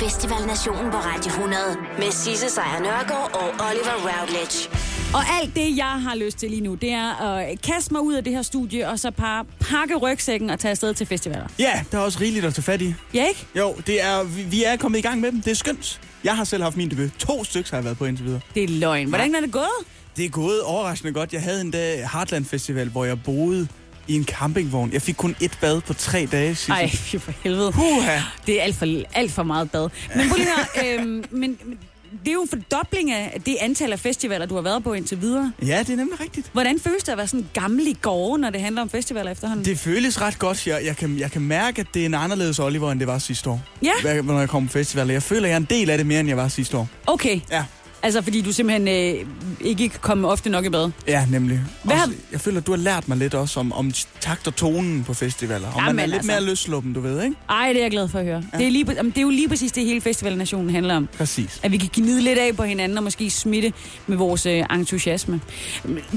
Festival Nationen på Radio 100 med Sisse Sejr Nørgaard og Oliver Routledge. Og alt det, jeg har lyst til lige nu, det er at kaste mig ud af det her studie, og så bare pakke rygsækken og tage afsted til festivaler. Ja, der er også rigeligt at tage fat i. Ja, ikke? Jo, det er, vi, vi er kommet i gang med dem. Det er skønt. Jeg har selv haft min debut. To stykker har jeg været på indtil videre. Det er løgn. Hvordan er det gået? Det er gået overraskende godt. Jeg havde en dag Heartland Festival, hvor jeg boede i en campingvogn. Jeg fik kun et bad på tre dage. Sisse. Ej, fy for helvede. Puha. Det er alt for, alt for meget bad. Men prøv lige her, øhm, men, men det er jo en fordobling af det antal af festivaler, du har været på indtil videre. Ja, det er nemlig rigtigt. Hvordan føles det at være sådan gammel i gårde, når det handler om festivaler efterhånden? Det føles ret godt. Jeg, jeg, kan, jeg kan mærke, at det er en anderledes Oliver, end det var sidste år. Ja. Hver- Når jeg kommer på festivaler. Jeg føler, at jeg er en del af det mere, end jeg var sidste år. Okay, Ja, altså fordi du simpelthen øh, ikke kan komme ofte nok i bad. ja nemlig. Hvad har- Også, jeg føler, at du har lært mig lidt også om, om takt og tonen på festivaler. Og man Jamen er lidt altså. mere løsluppen, du ved, ikke? Ej, det er jeg glad for at høre. Ja. Det, er lige, jamen, det er jo lige præcis det, hele festivalnationen handler om. Præcis. At vi kan gnide lidt af på hinanden og måske smitte med vores øh, entusiasme.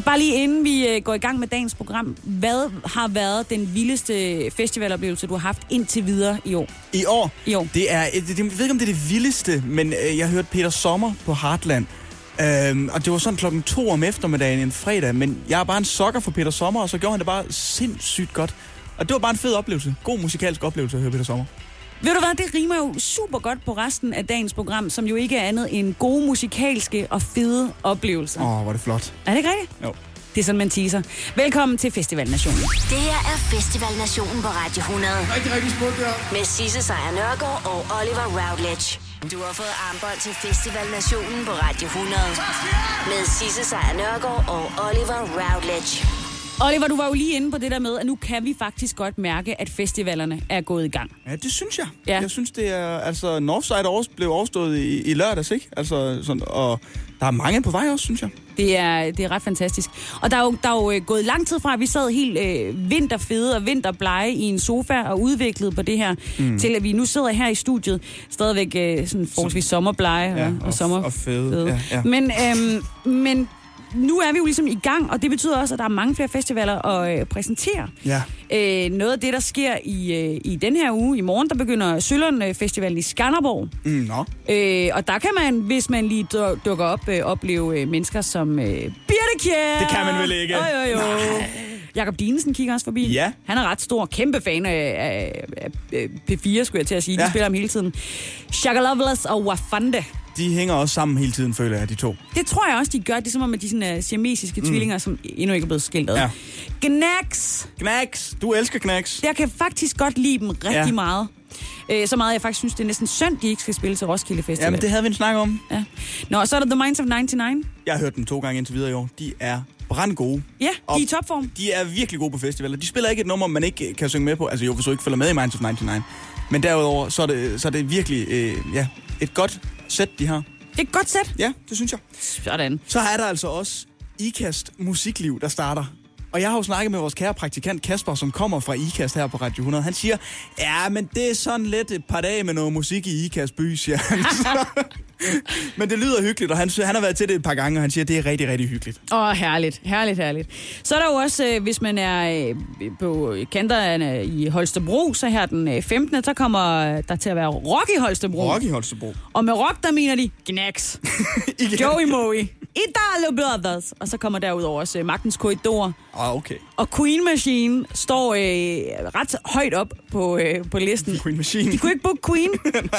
Bare lige inden vi øh, går i gang med dagens program. Hvad har været den vildeste festivaloplevelse, du har haft indtil videre i år? I år, I år. det er, et- det, jeg ved ikke, om det er det vildeste, men øh, jeg hørte Peter Sommer på Heartland. Øhm, og det var sådan klokken to om eftermiddagen en fredag, men jeg er bare en sokker for Peter Sommer, og så gjorde han det bare sindssygt godt. Og det var bare en fed oplevelse. God musikalsk oplevelse at høre Peter Sommer. Ved du hvad, det rimer jo super godt på resten af dagens program, som jo ikke er andet end gode musikalske og fede oplevelser. Åh, oh, hvor er det flot. Er det ikke rigtigt? Jo. Det er sådan, man teaser. Velkommen til Festival Nationen. Det her er Festival Nationen på Radio 100 Rigtig, rigtig smukt, ja. med Sisse Sejr Nørgaard og Oliver Routledge. Du har fået armbånd til Festival Nationen på Radio 100 med Sisse Sejr Nørgaard og Oliver Routledge. Oliver, du var jo lige inde på det der med, at nu kan vi faktisk godt mærke, at festivalerne er gået i gang. Ja, det synes jeg. Ja. Jeg synes, det er... Altså, Northside over, blev overstået i, i lørdags, ikke? Altså, sådan, og der er mange på vej også, synes jeg. Det er, det er ret fantastisk. Og der er jo, der er jo øh, gået lang tid fra, at vi sad helt øh, vinterfede og vinterblege i en sofa og udviklede på det her, mm. til at vi nu sidder her i studiet, stadigvæk øh, sådan forholdsvis sommerblege og, Ja, ja, og, og f- sommer. og fede. Ja, ja. Men, øhm, men nu er vi jo ligesom i gang, og det betyder også, at der er mange flere festivaler at øh, præsentere. Ja. Øh, noget af det, der sker i, øh, i den her uge, i morgen, der begynder Sølund øh, Festivalen i Skanderborg. Mm, nå. Øh, og der kan man, hvis man lige du- dukker op, øh, opleve øh, mennesker som øh, Birte Kjær. Det kan man vel ikke? Jo, jo, jo. Jakob Dinesen kigger også forbi. Ja. Han er ret stor, kæmpe fan af, af, af, af P4, skulle jeg til at sige. De Ja. spiller ham hele tiden. Shaka Loveless og Wafande. De hænger også sammen hele tiden, føler jeg, de to. Det tror jeg også, de gør. Det er som om, at de sådan, uh, siamesiske mm. tvillinger, som endnu ikke er blevet skilt ad. Ja. Gnags. Knacks! Du elsker Knacks. Jeg kan faktisk godt lide dem rigtig Ja. ja. meget. Øh, så meget, jeg faktisk synes, det er næsten synd, de ikke skal spille til Roskilde Festival. Jamen, det havde vi en snak om. Ja. Nå, og så er der The Minds of 99. Jeg har hørt dem to gange indtil videre i år. De er brandgode. Ja, Og- de er i topform. De er virkelig gode på festivaler. De spiller ikke et nummer, man ikke kan synge med på. Altså jo, hvis du ikke følger med i Minds of 99. Men derudover, så er det, så er det virkelig øh, ja, et godt sæt, de har. Det er et godt sæt. Ja, det synes jeg. Sådan. Så er der altså også IKAST Musikliv, der starter. Og jeg har jo snakket med vores kære praktikant Kasper, som kommer fra IKAST her på Radio 100. Han siger, ja, men det er sådan lidt et par dage med noget musik i IKAST by, siger han. Så- men det lyder hyggeligt, og han, sy- han har været til det et par gange, og han siger, det er rigtig, rigtig hyggeligt. Åh, herligt, herligt, herligt. Så er der jo også, øh, hvis man er øh, på kanterne i Holstebro, så her den øh, 15. så kommer øh, der til at være rock i Holstebro. Rock i Holstebro. Og med rock, der mener de Gnags, Igen. Joey Moe, Idalo Brothers. Og så kommer derudover også øh, Magtens Korridor. Ah, okay. Og Queen Machine står øh, ret højt op på, øh, på listen. Queen Machine. De kunne ikke booke Queen,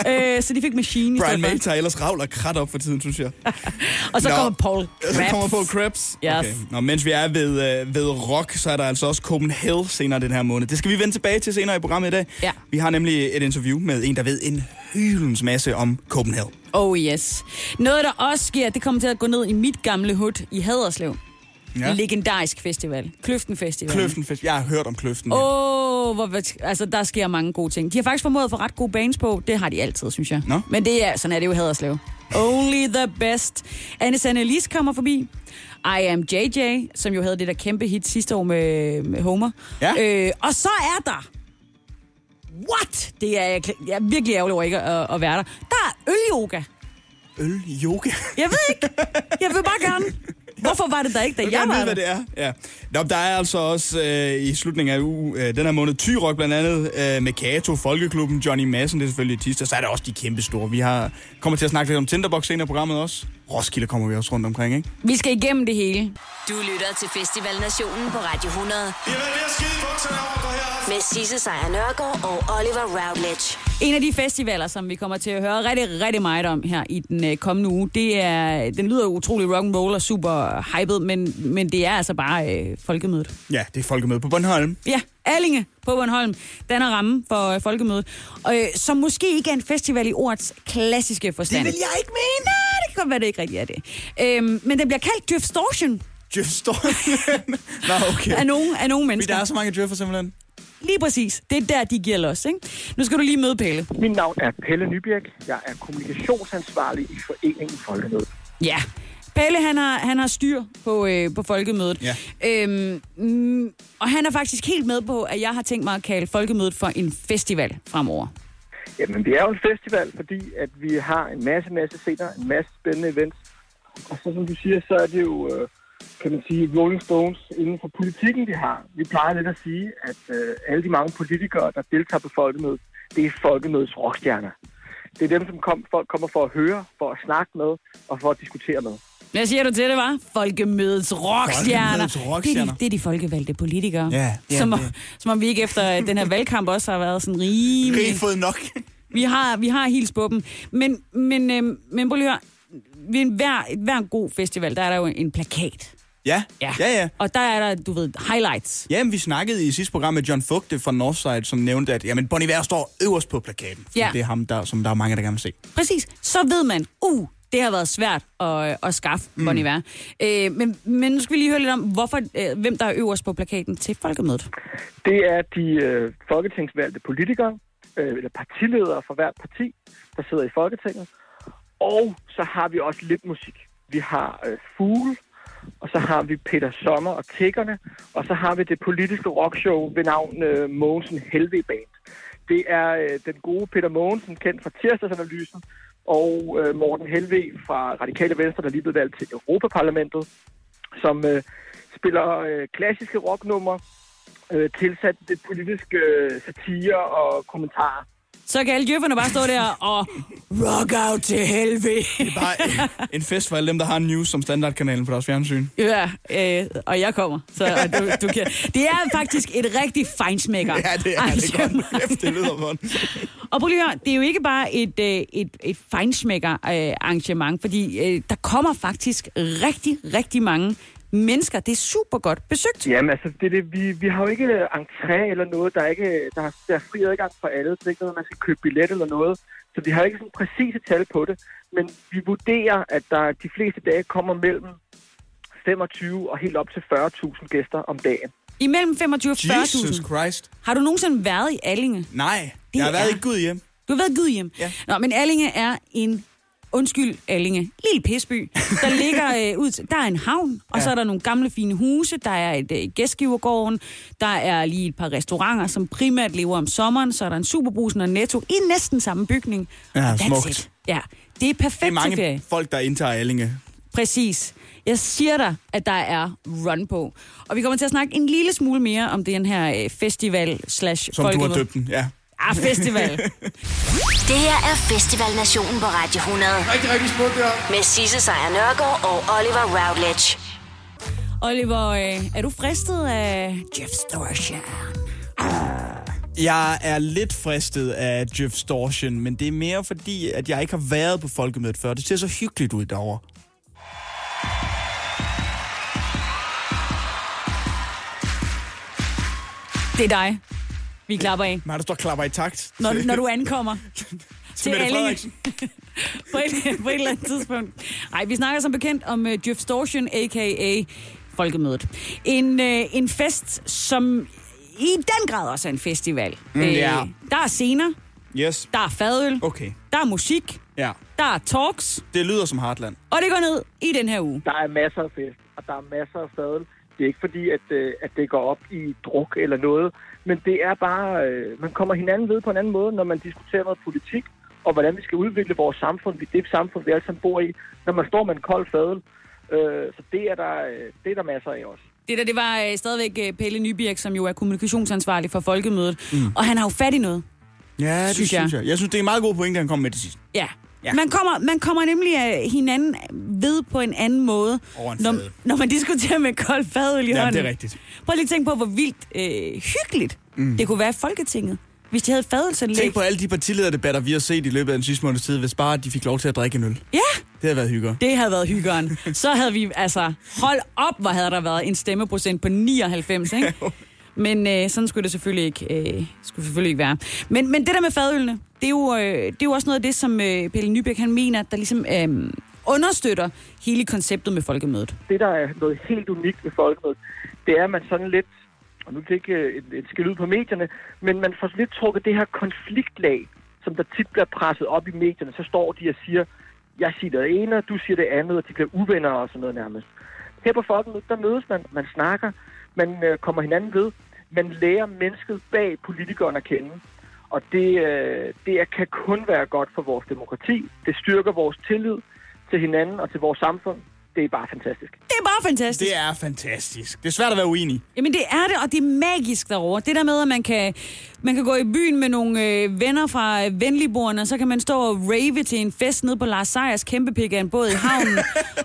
øh, så de fik Machine i Brian stedet May for. tager ellers ravl og krat op for tiden, synes jeg. Og så Nå. kommer Paul Så Krebs. kommer på Krebs. Yes. Okay. Nå, mens vi er ved, øh, ved rock, så er der altså også Copenhagen senere den her måned. Det skal vi vende tilbage til senere i programmet i dag. Ja. Vi har nemlig et interview med en, der ved en hylens masse om Copenhagen. Oh yes. Noget, der også sker, det kommer til at gå ned i mit gamle hud i Haderslev. Ja. Legendarisk festival. Kløften Festival. Kløften, fest- jeg har hørt om Kløften. ja. Åh, oh, hvor, hvor- altså der sker mange gode ting. De har faktisk formået at få ret gode banes på. Det har de altid, synes jeg. Nå. Men det er, sådan er det jo i Haderslev. Only the best. Anne Sannelis kommer forbi. I am JJ, som jo havde det der kæmpe hit sidste år med, med Homer. Ja. Øh, og så er der... What? Det er jeg, jeg er virkelig ærgerlig over ikke at, at være der. Der er ølyoga. Øl, yoga. Jeg ved ikke. Jeg vil bare gerne. Hvorfor var det der ikke, da vil jeg gerne var der? vide, hvad det er. Ja. Nå, der er altså også øh, i slutningen af uge, øh, den her måned Tyrok blandt andet øh, med Kato, Folkeklubben, Johnny Madsen, det er selvfølgelig tirsdag. Så er der også de kæmpe store. Vi har, kommer til at snakke lidt om Tinderbox senere i programmet også. Roskilde kommer vi også rundt omkring, ikke? Vi skal igennem det hele. Du lytter til Festival Nationen på Radio 100 Jeg er ved at skide i bukserne over på her. med Sisse Sejr Nørgaard og Oliver Routledge. En af de festivaler, som vi kommer til at høre rigtig, rigtig meget om her i den øh, kommende uge, det er, den lyder utrolig rock'n'roll og super hyped, men, men det er altså bare øh, folkemødet. Ja, det er folkemøde på Bornholm. Ja, Allinge på Bornholm danner ramme for øh, folkemødet, og, øh, som måske ikke er en festival i ordets klassiske forstand. Det vil jeg ikke mene. Nej, det kan godt være, det ikke rigtig er det. Øhm, men den bliver kaldt Driftstortion Jeff Storm. Nå, okay. af nogen, af nogen Fordi mennesker. der er så mange Jeffer simpelthen. Lige præcis. Det er der, de giver los, ikke? Nu skal du lige møde Pelle. Mit navn er Pelle Nybjerg. Jeg er kommunikationsansvarlig i Foreningen Folkemød. Ja. Pelle, han har, han har styr på, øh, på folkemødet. Ja. Øhm, mm, og han er faktisk helt med på, at jeg har tænkt mig at kalde folkemødet for en festival fremover. Jamen, det er jo en festival, fordi at vi har en masse, masse scener, en masse spændende events. Og så som du siger, så er det jo, øh, kan man sige, Rolling Stones inden for politikken, vi har. Vi plejer lidt at sige, at øh, alle de mange politikere, der deltager på folkemødet, det er folkemødets rockstjerner. Det er dem, som kom, folk kommer for at høre, for at snakke med og for at diskutere med. Hvad siger du til det, var? Folkemødets rockstjerner. Folkemødets rockstjerner. Det, er de, det er de folkevalgte politikere. Ja, ja, som, det om, er. som om vi ikke efter øh, den her valgkamp også har været sådan rimelig... Rig fået nok. Vi har, vi har hils på dem. Men, men, øh, men prøv lige at høre. Ved hver, hver god festival, der er der jo en plakat. Ja, ja, ja. ja. Og der er der, du ved, highlights. Jamen, vi snakkede i sidste program med John Fugte fra Northside, som nævnte, at jamen, Bon Iver står øverst på plakaten. fordi Ja. Det er ham, der, som der er mange, der gerne vil se. Præcis. Så ved man, uh, det har været svært at, at skaffe mm. Bon Iver. Øh, men, men nu skal vi lige høre lidt om, hvorfor, øh, hvem der er øverst på plakaten til folkemødet. Det er de øh, folketingsvalgte politikere, øh, eller partiledere fra hvert parti, der sidder i Folketinget. Og så har vi også lidt musik. Vi har øh, Fugle, og så har vi Peter Sommer og Tækkerne, og så har vi det politiske rockshow ved navn øh, Mogensen Helve Band. Det er øh, den gode Peter Mogensen, kendt fra tirsdagsanalysen, og øh, Morten Helve fra Radikale Venstre, der lige blev valgt til Europaparlamentet, som øh, spiller øh, klassiske rocknumre, øh, tilsat det politiske øh, satire og kommentarer. Så kan alle djøfferne bare stå der og rock out til helvede. Bare en fest for alle dem, der har news som standardkanalen på deres fjernsyn. Ja, øh, og jeg kommer. Så, og du, du kan. Det er faktisk et rigtig fejnsmækker. Ja, det er det er godt. Kæft, det lyder godt. Og prøv lige at høre, det er jo ikke bare et, øh, et, et fejnsmækker øh, arrangement, fordi øh, der kommer faktisk rigtig, rigtig mange mennesker. Det er super godt besøgt. Jamen altså, det, er det, vi, vi har jo ikke øh, entré eller noget, der er, ikke, der, er- der er fri adgang for alle, så det er ikke noget, man skal købe billet eller noget. Så vi har ikke sådan præcise tal på det, men vi vurderer, at der de fleste dage kommer mellem 25 og helt op til 40.000 gæster om dagen. Imellem 25 og Jesus 40.000. Christ. Har du nogensinde været i Allinge? Nej, Det jeg har været er- i Gud hjem. Du har været gud hjem. Ja. Nå, men Allinge er en Undskyld, Allinge. Lille pisby. Der ligger øh, ud til, Der er en havn, og ja. så er der nogle gamle fine huse. Der er et øh, gæstgivergården. Der er lige et par restauranter, som primært lever om sommeren. Så er der en superbrusen og netto i næsten samme bygning. Ja, Og that's smukt. it. Ja, det er perfekt Det er til mange ferie. folk, der indtager Allinge. Præcis. Jeg siger dig, at der er run på. Og vi kommer til at snakke en lille smule mere om den her øh, festival slash Som du har døbt den, ja. Ah, festival. Det her er Festival Nationen på Radio 100 Rigtig, rigtig smukt det her. med Sisse Sejr Nørgaard og Oliver Routledge. Oliver, øh, er du fristet af Jeff Storcher? Jeg er lidt fristet af Jeff Storchen, men det er mere fordi, at jeg ikke har været på folkemødet før. Det ser så hyggeligt ud derovre. Det er dig. Vi klapper af, Men der står klapper i takt. når, når du ankommer. til Mette Allinge. Frederiksen. på, et, på et eller andet tidspunkt. Nej, vi snakker som bekendt om uh, Jeff Storchen, a.k.a. Folkemødet. En, uh, en fest, som i den grad også er en festival. Mm, ja. Der er scener, Yes. der er fadøl, Okay. der er musik, Ja. der er talks, Det lyder som Heartland. og det går ned i den her uge. Der er masser af fest, og der er masser af fadel. Det er ikke fordi, at, øh, at det går op i druk eller noget, men det er bare, øh, man kommer hinanden ved på en anden måde, når man diskuterer noget politik, og hvordan vi skal udvikle vores samfund, det samfund, vi alle sammen bor i. Når man står med en kold fadel, Øh, så det er, der, øh, det er der masser af også. Det der, det var øh, stadigvæk øh, Pelle Nybirk, som jo er kommunikationsansvarlig for Folkemødet. Mm. Og han har jo fat i noget. Ja, det Synes jeg. synes jeg. jeg. Jeg synes, det er en meget god pointe, han kom med til sidst. Ja. Ja. Man, kommer, man kommer nemlig øh, hinanden ved på en anden måde, Over en når, fadøl. når man diskuterer med kold fadøl i Ja, hånden. det er rigtigt. Prøv lige at tænke på, hvor vildt øh, hyggeligt mm. det kunne være i Folketinget, hvis de havde et fadølsanlæg. Tænk på alle de partilederdebatter, vi har set i løbet af den sidste måneds tid, hvis bare de fik lov til at drikke en øl. Det Ja, havde været hyggeligt. det havde været hyggeren. Så havde vi, altså, hold op, hvor havde der været en stemmeprocent på 99, ikke? Men øh, sådan skulle det selvfølgelig ikke, øh, skulle selvfølgelig ikke være. Men, men det der med fadølene, det er jo, øh, det er jo også noget af det, som øh, Pelle Nybæk han mener, der ligesom øh, understøtter hele konceptet med folkemødet. det, der er noget helt unikt ved folkemødet, det er, at man sådan lidt, og nu er det ikke øh, et, et skæld ud på medierne, men man får sådan lidt trukket det her konfliktlag, som der tit bliver presset op i medierne. Så står de og siger, jeg siger det ene, og du siger det andet, og de bliver uvenner og sådan noget nærmest. Her på folkemødet, der mødes man, man snakker, man øh, kommer hinanden ved, man lærer mennesket bag politikeren at kende. Og det, øh, det er, kan kun være godt for vores demokrati. Det styrker vores tillid til hinanden og til vores samfund. Det er bare fantastisk. Det er bare fantastisk. Det er fantastisk. Det er svært at være uenig. Jamen det er det, og det er magisk derovre. Det der med, at man kan, man kan gå i byen med nogle øh, venner fra øh, venligborene, og så kan man stå og rave til en fest nede på Lars Seiers kæmpepik af en båd i havnen,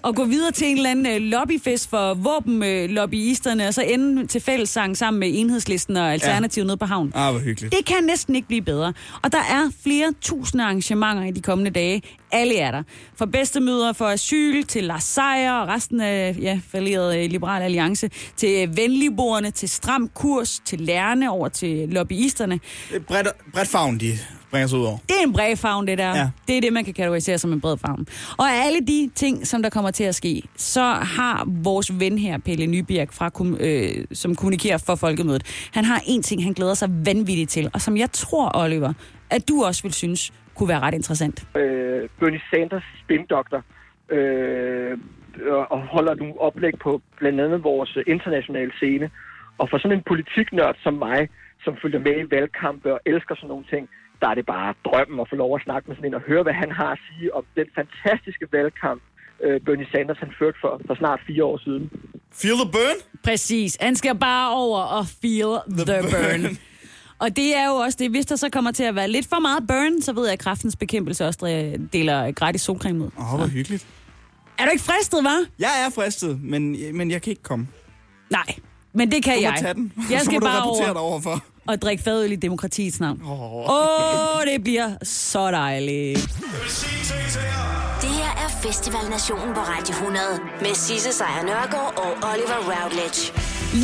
og gå videre til en eller anden øh, lobbyfest for våbenlobbyisterne, øh, lobbyisterne, og så ende til fællessang sammen med enhedslisten og Alternativet ja. nede på havnen. Ah, hvor hyggeligt. Det kan næsten ikke blive bedre. Og der er flere tusinde arrangementer i de kommende dage. Alle er der. Fra bedstemøder for asyl til Lars Seier og resten af ja, falderede øh, Liberal Alliance, til øh, venligborgerne, til stram kurs, til lærerne over til lobbyisterne. Det er bredt, bredt favn, de bringer sig ud over. Det er en bred favn, det der. Ja. Ja. Det er det, man kan kategorisere som en bred favn. Og af alle de ting, som der kommer til at ske, så har vores ven her, Pelle Nybjerg, fra, kom- øh, som kommunikerer for Folkemødet, han har en ting, han glæder sig vanvittigt til, og som jeg tror, Oliver, at du også vil synes kunne være ret interessant. øh, Bernie Sanders spindoktor øh, og- og holder nogle oplæg på blandt andet vores øh, internationale scene. Og for sådan en politiknørd som mig, som følger med i valgkampe og elsker sådan nogle ting, der er det bare drømmen at få lov at snakke med sådan en og høre, hvad han har at sige om den fantastiske valgkamp, øh, Bernie Sanders han førte for, for snart fire år siden. Feel the burn? Præcis. Han skal bare over og feel the, the burn. burn. burn. Og det er jo også det, hvis der så kommer til at være lidt for meget burn, så ved jeg, at kraftens bekæmpelse også øh, deler gratis solcreme ud. Åh, oh, hvor hyggeligt. Er du ikke fristet, var? Jeg er fristet, men, men jeg kan ikke komme. Nej, men det kan Du må jeg. tage den. Jeg Så skal må du bare rapportere over dig overfor. og drikke fadøl i demokratiets navn. Åh, oh. oh, det bliver så dejligt. Jeg vil sige en ting til jer. Det her er Festival Nationen på Radio 100 med Sisse Sejr Nørgaard og Oliver Routledge.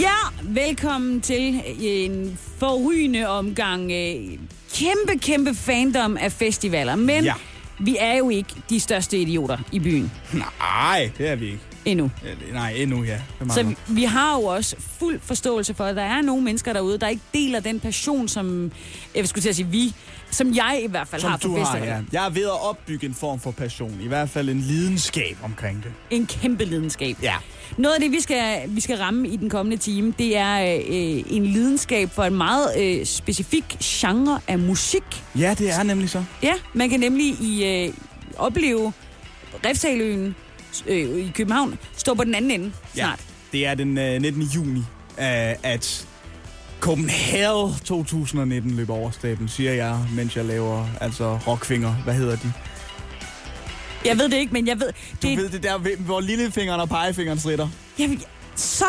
Ja, velkommen til øh, en forrygende omgang. øh, Kæmpe, kæmpe fandom af festivaler. Men ja. Ja. vi er jo ikke de største idioter i byen Nej, det er vi ikke. endnu. Ja, det- Nej, endnu ja. Det er Så meget vi har jo også fuld forståelse for, at der er nogle mennesker derude, der ikke deler den passion, som jeg skulle til at sige vi, som jeg i hvert fald har som for du har, festivaler. ja. Jeg er ved at opbygge en form for passion. I hvert fald en lidenskab omkring det. en kæmpe lidenskab. Ja. Noget af det, vi skal, vi skal ramme i den kommende time, det er øh, en lidenskab for en meget øh, specifik genre af musik. Ja, det er nemlig så. Ja, man kan nemlig i øh, opleve Refsaløen øh, i København stå på den anden ende snart. Det er den øh, 19. juni, øh, at Copenhagen 2019 løber over staben, siger jeg, mens jeg laver altså rockfinger. Hvad hedder de? Jeg ved det ikke, men jeg ved... Du det, det... ved det der, ved- hvor lillefingeren og pegefingeren stritter. Jeg, vil- så,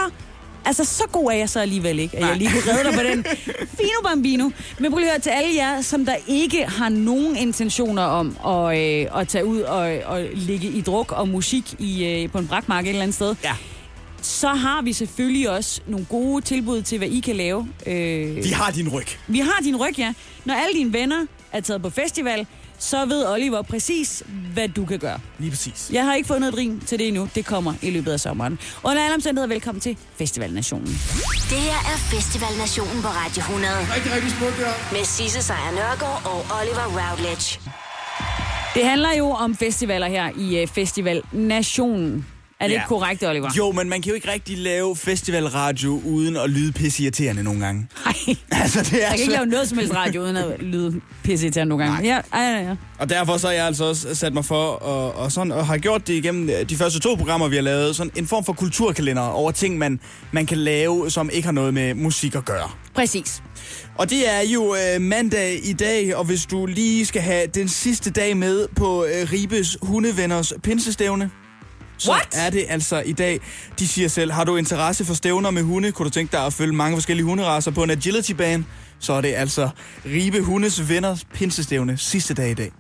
altså, så god er jeg så alligevel ikke, at jeg Nej. lige kunne redde dig på den. Fino bambino. Men prøv lige at høre til alle jer, som der ikke har nogen intentioner om at, øh, at tage ud og, og ligge i druk og musik i, øh, på en brakmark et eller andet sted. Ja. Så har vi selvfølgelig også nogle gode tilbud til, hvad I kan lave. Øh, De har din ryg. vi har din ryg, ja. Når alle dine venner er taget på festival, så ved Oliver præcis, hvad du kan gøre. Lige præcis. Jeg har ikke fundet et rim til det endnu. Det kommer i løbet af sommeren. Under alle omstændigheder, velkommen til Festival Nationen. Det her er Festival Nationen på Radio 100 Rigtig, rigtig smukt det her. med Sisse Sejr Nørgaard og Oliver Routledge. Det handler jo om festivaler her i øh, Festival Nationen. Er det Ja. ikke korrekt, Oliver? Jo, men man kan jo ikke rigtig lave festivalradio uden at lyde pisseirriterende nogle gange. Nej. Altså, det er Jeg kan svært. ikke lave noget som helst radio, uden at lyde pisse til nogle gange. Ja, ej, ja, ja. Og derfor så har jeg altså også sat mig for, og, og, sådan, og har gjort det igennem øh, de første to programmer, vi har lavet, sådan en form for kulturkalender over ting, man, man kan lave, som ikke har noget med musik at gøre. Præcis. Og det er jo øh, mandag i dag, og hvis du lige skal have den sidste dag med på øh, Ribes hundevenners pinsestævne, så What? er det altså i dag. De siger selv, har du interesse for stævner med hunde, kunne du tænke dig at følge mange forskellige hunderaser på en agility-bane, så er det altså Ribe Hundes Venners pinsestævne sidste dag i dag.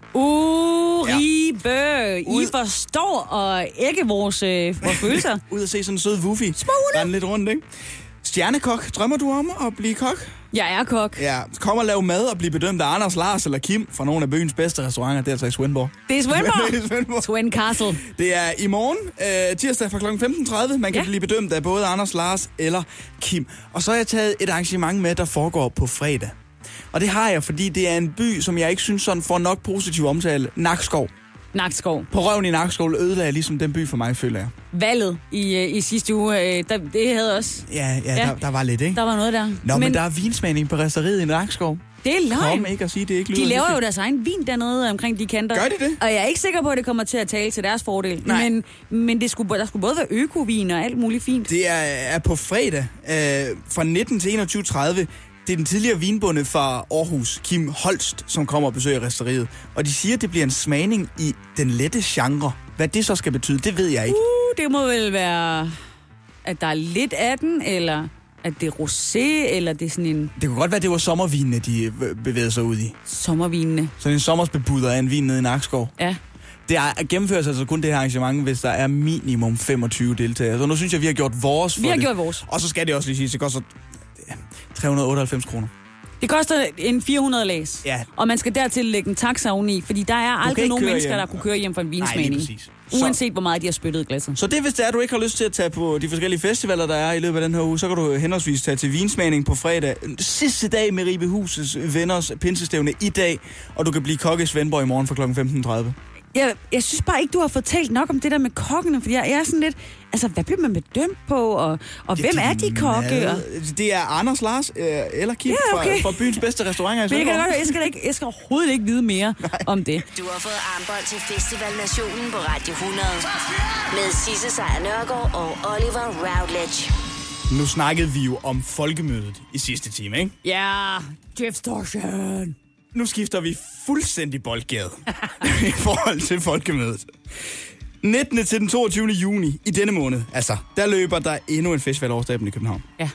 Uribe, I Ud. forstår og ikke vores, øh, vores følelser. Ud og se sådan en sød wuffy. Små Rende lidt rundt, ikke? Stjernekok, drømmer du om at blive kok? Jeg er kok. Ja. Kom og lav mad og blive bedømt af Anders, Lars eller Kim fra nogle af byens bedste restauranter, det er altså i Svendborg. Det er Det er Svendborg. Svendborg. Twin Castle. Det er i morgen, øh, tirsdag fra kl. 15.30. Man kan Ja. ja. blive bedømt af både Anders, Lars eller Kim. Og så har jeg taget et arrangement med, der foregår på fredag. Og det har jeg, fordi det er en by, som jeg ikke synes sådan får nok positiv omtale. Nakskov. Nakskov. På røven i Nakskov ødelagde ligesom den by for mig, føler jeg. Valget i, øh, i sidste uge, øh, der, det havde også... Ja, ja, Ja. ja. Der, der var lidt, ikke? Der var noget der. Nå, men, men der er vinsmagning på resteriet i Nakskov. det er løgn. Kom ikke og sige, det ikke lyder De laver hyggeligt. jo deres egen vin dernede omkring de kanter. Gør de det? Og jeg er ikke sikker på, at det kommer til at tale til deres fordel. Nej. Men, men det skulle, der skulle både være økovin og alt muligt fint. Det er, er på fredag øh, fra 19 til 21.30. Det er den tidligere vinbonde fra Aarhus, Kim Holst, som kommer og besøger resteriet. Og de siger, at det bliver en smagning i den lette genre. Hvad det så skal betyde, det ved jeg ikke. Uh, det må vel være, at der er lidt af den, eller at det er rosé, eller det er sådan en Det kunne godt være, det var sommervinene, de øh, bevægede sig ud i. sommervinende. Sådan en sommersbebuder af en vin nede i Nakskov. Ja. Det er, gennemføres altså kun det her arrangement, hvis der er minimum 25 deltagere. Så nu synes jeg, vi har gjort vores for Vi har det. gjort vores. Og så skal det også lige sige, det koster øh, 398 kroner. Det koster en 400 læs. Ja. Og man skal dertil lægge en taxa oveni, fordi der er aldrig ikke nogen køre mennesker, hjem. der kunne køre hjem fra en lige vinsmagning. præcis. Så- Uanset hvor meget de har spyttet i glasset. Så det, hvis det er, du ikke har lyst til at tage på de forskellige festivaler, der er i løbet af den her uge, så kan du henholdsvis tage til vinsmagning på fredag. Sidste dag med Ribehusets venners pinsestævne i dag, og du kan blive kok i Svendborg i morgen fra kl. 15.30. Jeg, jeg synes bare ikke, du har fortalt nok om det der med kokkene, fordi jeg er sådan lidt, altså hvad bliver man bedømt på, og, og hvem er de kokke? Og, Det er Anders, Lars øh, eller Kim Ja, ja, okay. okay. fra, fra byens bedste restauranter i men jeg, kan da Svendborg. godt, høre, jeg, skal da ikke, jeg skal overhovedet ikke vide mere om det. Du har fået armbånd til Festival Nationen på Radio 100. Med Sisse Sejr Nørgaard og Oliver Routledge. Nu snakkede vi jo om folkemødet i sidste time, ikke? Ja, Jeff Storchen. Nu skifter vi fuldstændig boldgade i forhold til folkemødet. 19. til den 22. juni i denne måned, altså, der løber der endnu en festival i København. Ja.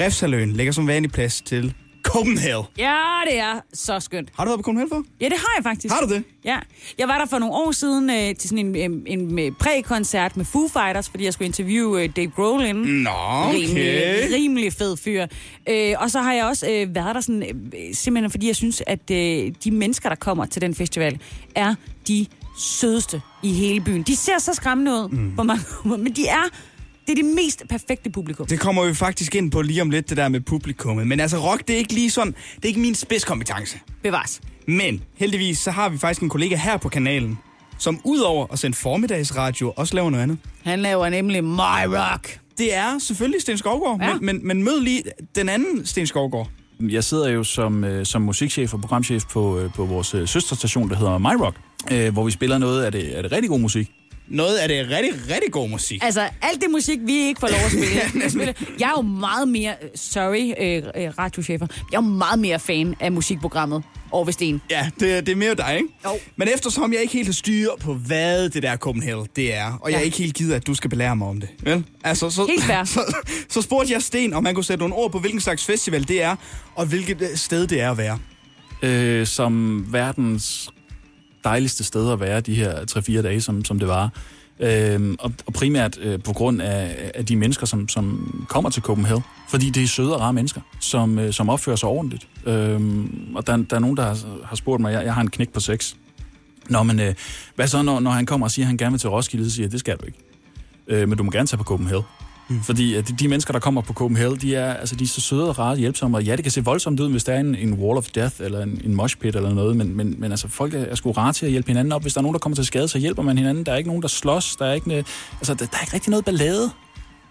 Refsaløen lægger som vanlig plads til Copenhagen. ja, det er så skønt. Har du været på Copenhagen før? Ja, det har jeg faktisk. Har du det? Ja. Jeg var der for nogle år siden øh, til sådan en, øh, en øh, præ-koncert med Foo Fighters, fordi jeg skulle interviewe øh, Dave Grohl inden. Nå, Rimelig, rimelig fed fyr. Øh, og så har jeg også øh, været der sådan, øh, simpelthen fordi jeg synes, at øh, de mennesker, der kommer til den festival, er de sødeste i hele byen. De ser så skræmmende ud, mm. hvor mange, men de er, det er det mest perfekte publikum. Det kommer vi faktisk ind på lige om lidt, det der med publikummet. Men altså, rock, det er ikke lige sådan, det er ikke min spidskompetence. Bevares. Men heldigvis, så har vi faktisk en kollega her på kanalen, som udover at sende formiddagsradio, også laver noget andet. Han laver nemlig My Rock. Det er selvfølgelig Sten Skovgaard, Ja. ja. men, men, men mød lige den anden Sten Skovgaard. Jeg sidder jo som, øh, som musikchef og programchef på, øh, på vores øh, søsterstation, der hedder MyRock, øh, hvor vi spiller noget af det, af det rigtig god musik. Noget af det rigtig, rigtig god musik. Altså, alt det musik, vi ikke får lov at spille. Jeg, spiller, jeg er jo meget mere, sorry, øh, øh, radiochefer, jeg er jo meget mere fan af musikprogrammet Over Sten. Ja, det, det er mere dig, ikke? Jo. Men eftersom jeg ikke helt har styr på, hvad det der Copenhagen det er, og ja. jeg Ja. er ikke helt gider, at du skal belære mig om det, vel? Altså, så, Helt fair. så, så spurgte jeg Sten, om han kunne sætte nogle ord på, hvilken slags festival det er, og hvilket øh, sted det er at være. Øh, som verdens dejligste sted at være de her 3-4 dage, som, som det var. Øh, og, og primært øh, på grund af, af de mennesker, som, som kommer til Copenhagen. Fordi det er søde og rare mennesker, som, øh, som opfører sig ordentligt. Øh, og der, der er nogen, der har, har spurgt mig, jeg, jeg har en knæk på 6. Nå, men øh, hvad så, når, når han kommer og siger, at han gerne vil til Roskilde, så siger jeg, det skal du ikke. Øh, men du må gerne tage på Copenhagen. Mm. Fordi at de, de mennesker, der kommer på Copenhagen, de er, altså, de er så søde og rare og hjælpsomme. Og ja, det kan se voldsomt ud, hvis der er en, en wall of death eller en, en mosh pit eller noget, men, men, men altså, folk er, er sgu rare til at hjælpe hinanden op. Hvis der er nogen, der kommer til skade, så hjælper man hinanden. Der er ikke nogen, der slås. Der er ikke, ne- altså, der, der er ikke rigtig noget ballade.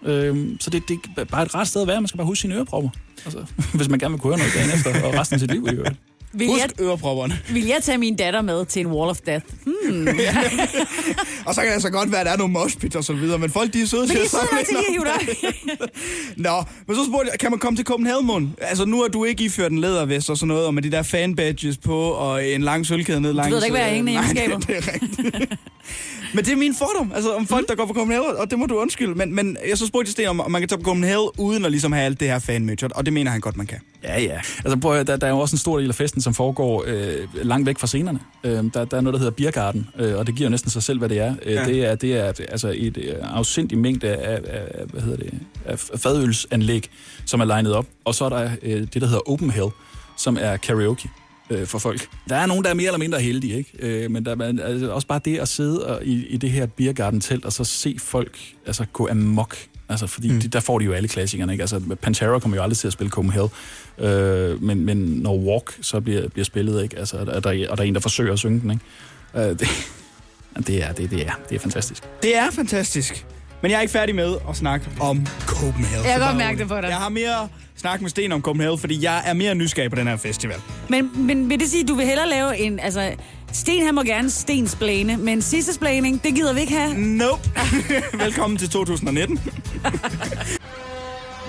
Øhm, så det, det er bare et rart sted at være. Man skal bare huske sine ørepropper. Altså, hvis man gerne vil kunne høre noget dagen efter og resten af sit liv i øvrigt. Vil jeg, Husk ørepropperne. vil jeg tage min datter med til en Wall of Death? Og så kan det altså godt være, at der er nogle moshpits og så videre, men folk de er søde Men til de sidder nok til lige at hive dig. Nå, men så spurgte jeg, kan man komme til Copenhagen, Mon? Altså nu er du ikke iført en lædervest og sådan noget, og med de der fanbadges på, og en lang sølvkæde ned langs... øh, ved da ikke, hvad jeg er hængende i Nej, egenskaber. det, det er rigtigt. men det er min fordom, altså om Mm. folk, der går på Copenhagen, og det må du undskylde. Men, men jeg så spurgte jeg Sten, om om man kan tage på Copenhagen uden at ligesom have alt det her fanmødt, og det mener han godt, man kan. Ja, ja. Altså, prøv at, høre, der, der er jo også en stor del af festen, som foregår øh, langt væk fra scenerne. Øh, der, der er noget, der hedder Biergarten, øh, og det giver jo næsten sig selv, hvad det er. Øh, Ja. ja. Det er, det er altså et øh, afsindig mængde af, af, af, hvad hedder det, af fadølsanlæg, som er legnet op. Og så er der øh, det, der hedder Open Hell, som er karaoke øh, for folk. Der er nogen, der er mere eller mindre heldige, ikke? Øh, men der er altså, også bare det at sidde og, i, i det her Biergarten-telt og så se folk altså, gå amok. Altså, fordi mm. det, der får de jo alle klassikerne, ikke? Altså, Pantera kommer jo aldrig til at spille Copenhagen, øh, men, men når Walk så bliver, bliver spillet, ikke? Altså, og der, og der er en, der forsøger at synge den, ikke? Øh, det, det, er, det, det, er, det er fantastisk. Det er fantastisk. Men jeg er ikke færdig med at snakke om Copenhagen. Jeg kan Så godt bare mærke rolig. det på dig. Jeg har mere snak med Sten om Copenhagen, fordi jeg er mere nysgerrig på den her festival. Men, men vil det sige, at du vil hellere lave en... Altså, Sten han må gerne stensblæne, men sissesblæning, det gider vi ikke Mm, have. Nope. Velkommen til 2019.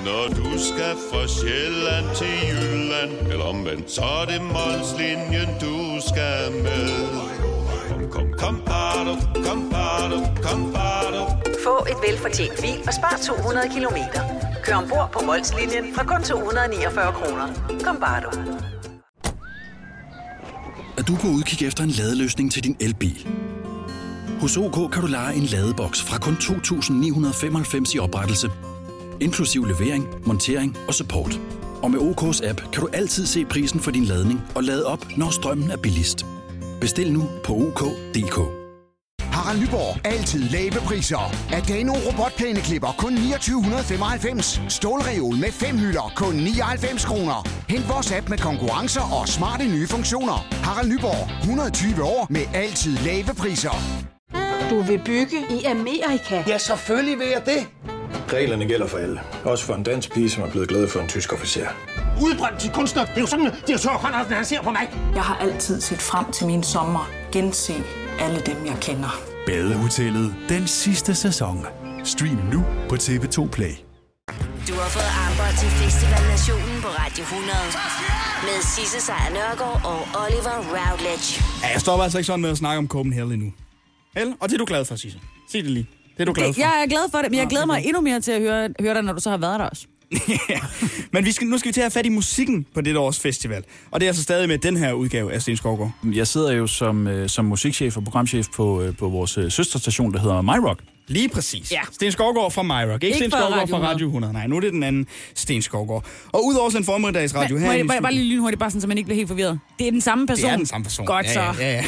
Når du skal fra Sjælland til Jylland Eller omvendt, så er det Molslinjen, du skal med Kom, kom, kom, bado, kom, bado, kom, bado. Få et velfortjent bil og spar 200 kilometer. Kør ombord på Molslinjen fra kun 249 kroner. Kom bare du. at du er på udkig efter en ladeløsning til din elbil. Hos OK kan du lege en ladeboks fra kun 2.995 i oprettelse, inklusiv levering, montering og support. Og med OK's app kan du altid se prisen for din ladning og lade op, når strømmen er billigst. Bestil nu på OK.dk. Harald Nyborg. Altid lave priser. Adano robotplæneklipper kun 2995. Stålreol med fem hylder kun 99 kroner. Hent vores app med konkurrencer og smarte nye funktioner. Harald Nyborg. 120 år med altid lave priser. Du vil bygge i Amerika? Ja, selvfølgelig vil jeg det. Reglerne gælder for alle. Også for en dansk pige, som er blevet glad for en tysk officer. Udbrændt til kunstner. Det er jo sådan, at de har Conradsen, han ser på mig. Jeg har altid set frem til min sommer. Gense alle dem, jeg kender. Badehotellet den sidste sæson. Stream nu på TV2 Play. Du har fået armbånd til Festival Nationen på Radio 100. Med Sisse Sejr Nørgaard og Oliver Routledge. Ja, jeg stopper altså ikke sådan med at snakke om Copenhagen endnu. Vel? Og det er du glad for, Sisse. Sig det lige. Det er du glad for. Jeg er glad for det, men jeg glæder mig endnu mere til at høre, høre dig, når du så har været der også. Men vi skal, nu skal vi til at have fat i musikken på dette års festival. Og det er altså stadig med den her udgave af Sten Skovgaard. Jeg sidder jo som, øh, som musikchef og programchef på, øh, på vores øh, søsterstation, der hedder MyRock. Lige præcis. Ja. Sten Skovgaard fra Myrock. Ikke, ikke Sten fra Skovgaard Radio fra Radio 100. Nej, nu er det den anden Sten Skovgaard. Og udover sådan en formiddags radio Men, her... må i jeg, må jeg studiet- bare lige lynhurtigt, bare sådan, så man ikke bliver helt forvirret. Det er den samme person? Det er den samme person. Godt ja, så. Ja, ja, ja.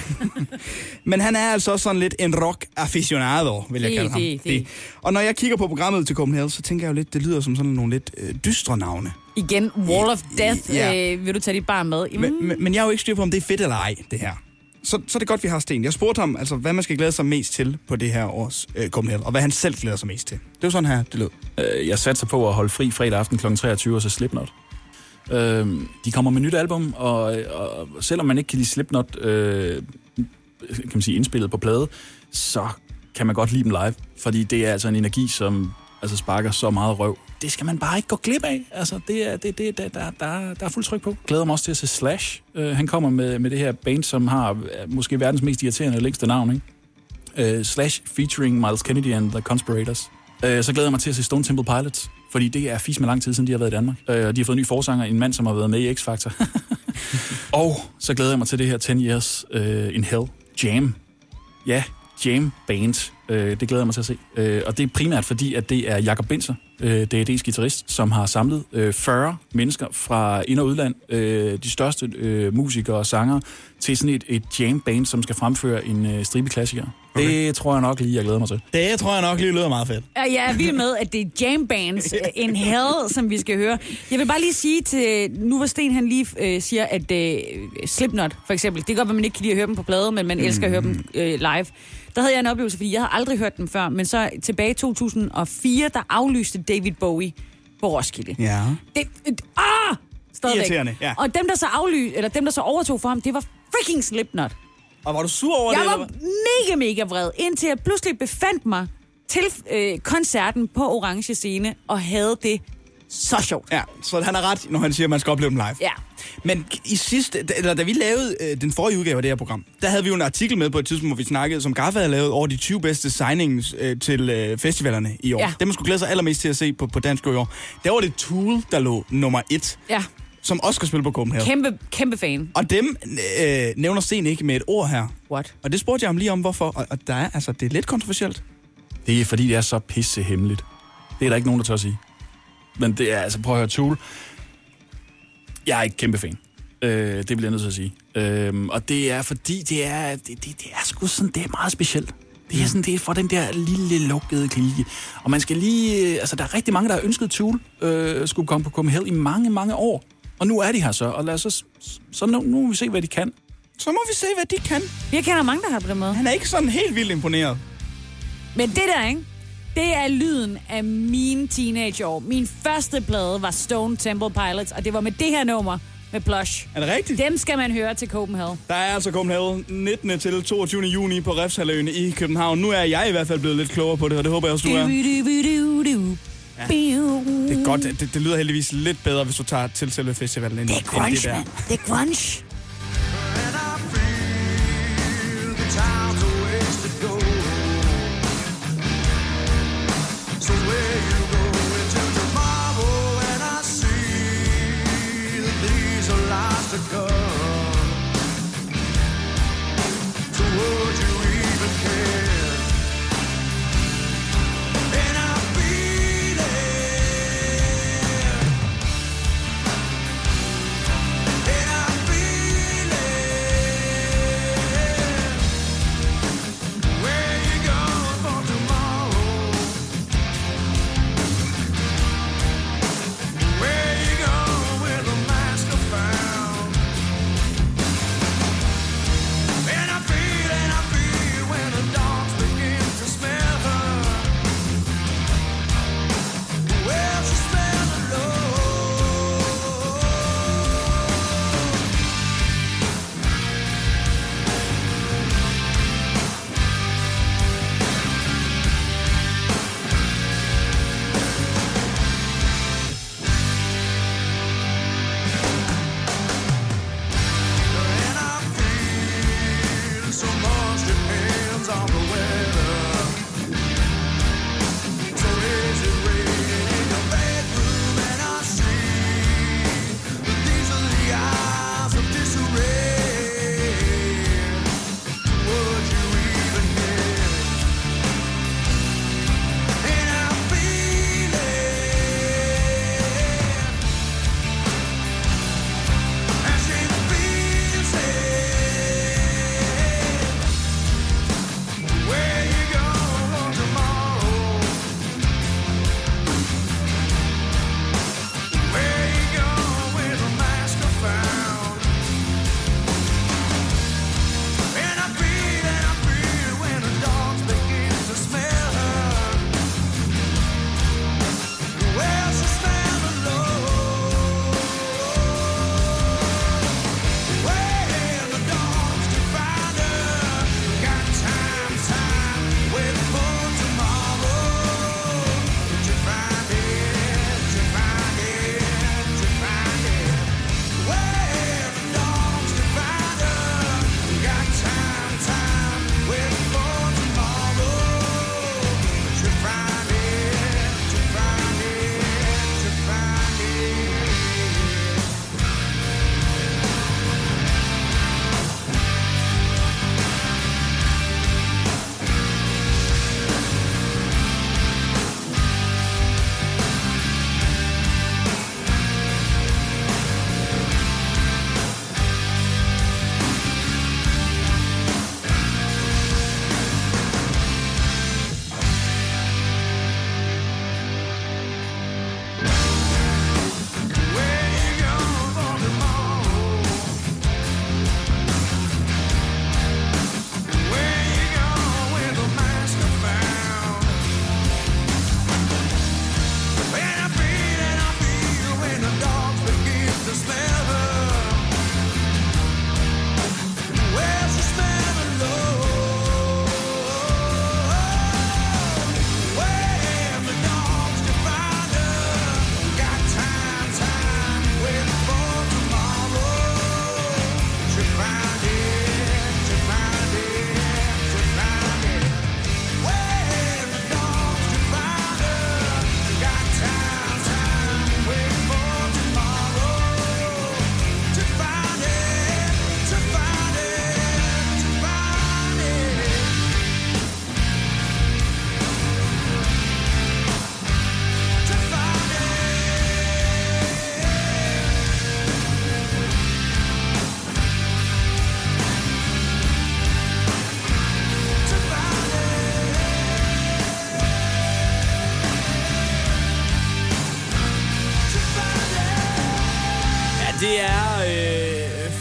Men han er altså også sådan lidt en rock aficionado, vil jeg Det, kalde ham. det, det. Og når jeg kigger på programmet til Copenhagen, så tænker jeg jo lidt, det lyder som sådan nogle lidt øh, dystre navne. Igen, Wall of Death, Ja. øh, vil du tage dit barn med? Jamen, Men, men, men jeg er jo ikke styr på, om det er fedt eller ej, det her. Så, så er det godt, vi har Sten. Jeg spurgte ham, altså, hvad man skal glæde sig mest til på det her års øh, Copenhagen, og hvad han selv glæder sig mest til. Det var sådan her, det lød. Øh, jeg satser på at holde fri fredag aften kl. 23, og så Slipknot. Øh, de kommer med nyt album, og, og selvom man ikke kan lide Slipknot, øh, kan man sige, indspillet på plade, så kan man godt lide dem live, fordi det er altså en energi, som altså sparker så meget røv. Det skal man bare ikke gå glip af. Altså, det er, det, det, der, der, der, der er fuld tryk på. Glæder mig også til at se Slash. Øh, han kommer med, med det her band, som har øh, måske verdens mest irriterende og længste navn, ikke? øh, Slash featuring Miles Kennedy and The Conspirators. Øh, så glæder jeg mig til at se Stone Temple Pilots, fordi det er fisk med lang tid siden, de har været i Danmark. Øh, og de har fået en ny forsanger, en mand, som har været med i X-Factor. og så glæder jeg mig til det her 10 Years øh, in Hell Jam. Ja, Jam Band. Øh, det glæder jeg mig til at se. Øh, og det er primært fordi, at det er Jakob Binser, øh, DAD's guitarist, som har samlet øh, 40 mennesker fra ind- og udland, øh, de største øh, musikere og sanger, til sådan et, et jam band, som skal fremføre en øh, stribe klassikere. Okay. Det tror jeg nok lige, jeg glæder mig til. Det tror jeg nok lige lyder meget fedt. Og jeg er vild med, at det er jam bands øh, in hell, som vi skal høre. Jeg vil bare lige sige til, nu hvor Sten han lige øh, siger, at øh, Slipknot for eksempel, det kan godt være, man ikke kan lide at høre dem på plade, men man elsker at høre Mm. dem øh, live. Der havde jeg en oplevelse, fordi jeg havde aldrig hørt dem før, men så tilbage i 2004, der aflyste David Bowie på Roskilde. Ja. Det, det, ah! Stadigvæk. Irriterende, ja. Og dem der, så afly, eller dem, der så overtog for ham, det var freaking Slipknot. Og var du sur over Jeg det? var eller hvad? mega, mega vred, indtil jeg pludselig befandt mig til øh, koncerten på Orange Scene, og havde det så sjovt. Ja, så han har ret, når han siger, at man skal opleve dem live. Ja. Men i sidste, da- eller da vi lavede øh, den forrige udgave af det her program, der havde vi jo en artikel med på et tidspunkt, hvor vi snakkede, som Gaffa havde lavet over de 20 bedste signings øh, til øh, festivalerne i år. Ja. Ja. Dem, man skulle glæde sig allermest til at se på, på dansk i år. Der var det Tool, der lå nummer et, Ja, som også skal spille på Copenhagen. kæmpe, kæmpe fan. Og dem øh, nævner Sten ikke med et ord her. What? Og det spurgte jeg ham lige om, hvorfor. Og, og der er, altså, det er lidt kontroversielt. Det er fordi, det er så pisse hemmeligt. Det er der ikke nogen, der tør sige. Men det er, altså prøv at høre, Tool. Jeg er ikke kæmpe fan. Øh, det bliver jeg nødt til at sige. Øh, og det er fordi, det er, det, det, det er sgu sådan, det er meget specielt. Det er sådan, det er for den der lille lukkede klike. Og man skal lige, øh, altså der er rigtig mange, der har ønsket Tool øh, skulle komme på Copenhagen i mange, mange år. Og nu er de her så, og lad os så, så- så nu, nu må vi se, hvad de kan. Så må vi se, hvad de kan. Jeg kender mange, der har på den måde. Han er ikke sådan helt vildt imponeret. Men det der, ikke? Det er lyden af mine teenageår. Min første plade var Stone Temple Pilots, og det var med det her nummer med Blush. Er det rigtigt? Dem skal man høre til Copenhagen. Der er altså Copenhagen 19. til 22. juni på Refshaløen i København. Nu er jeg i hvert fald blevet lidt klogere på det, og det håber jeg også, du er. Du-du-du-du-du. Ja. Det Det er godt. Det, det lyder heldigvis lidt bedre, hvis du tager til selve festivalen end det, er end det Grunge, der. mand. Det er grunge. Yeah.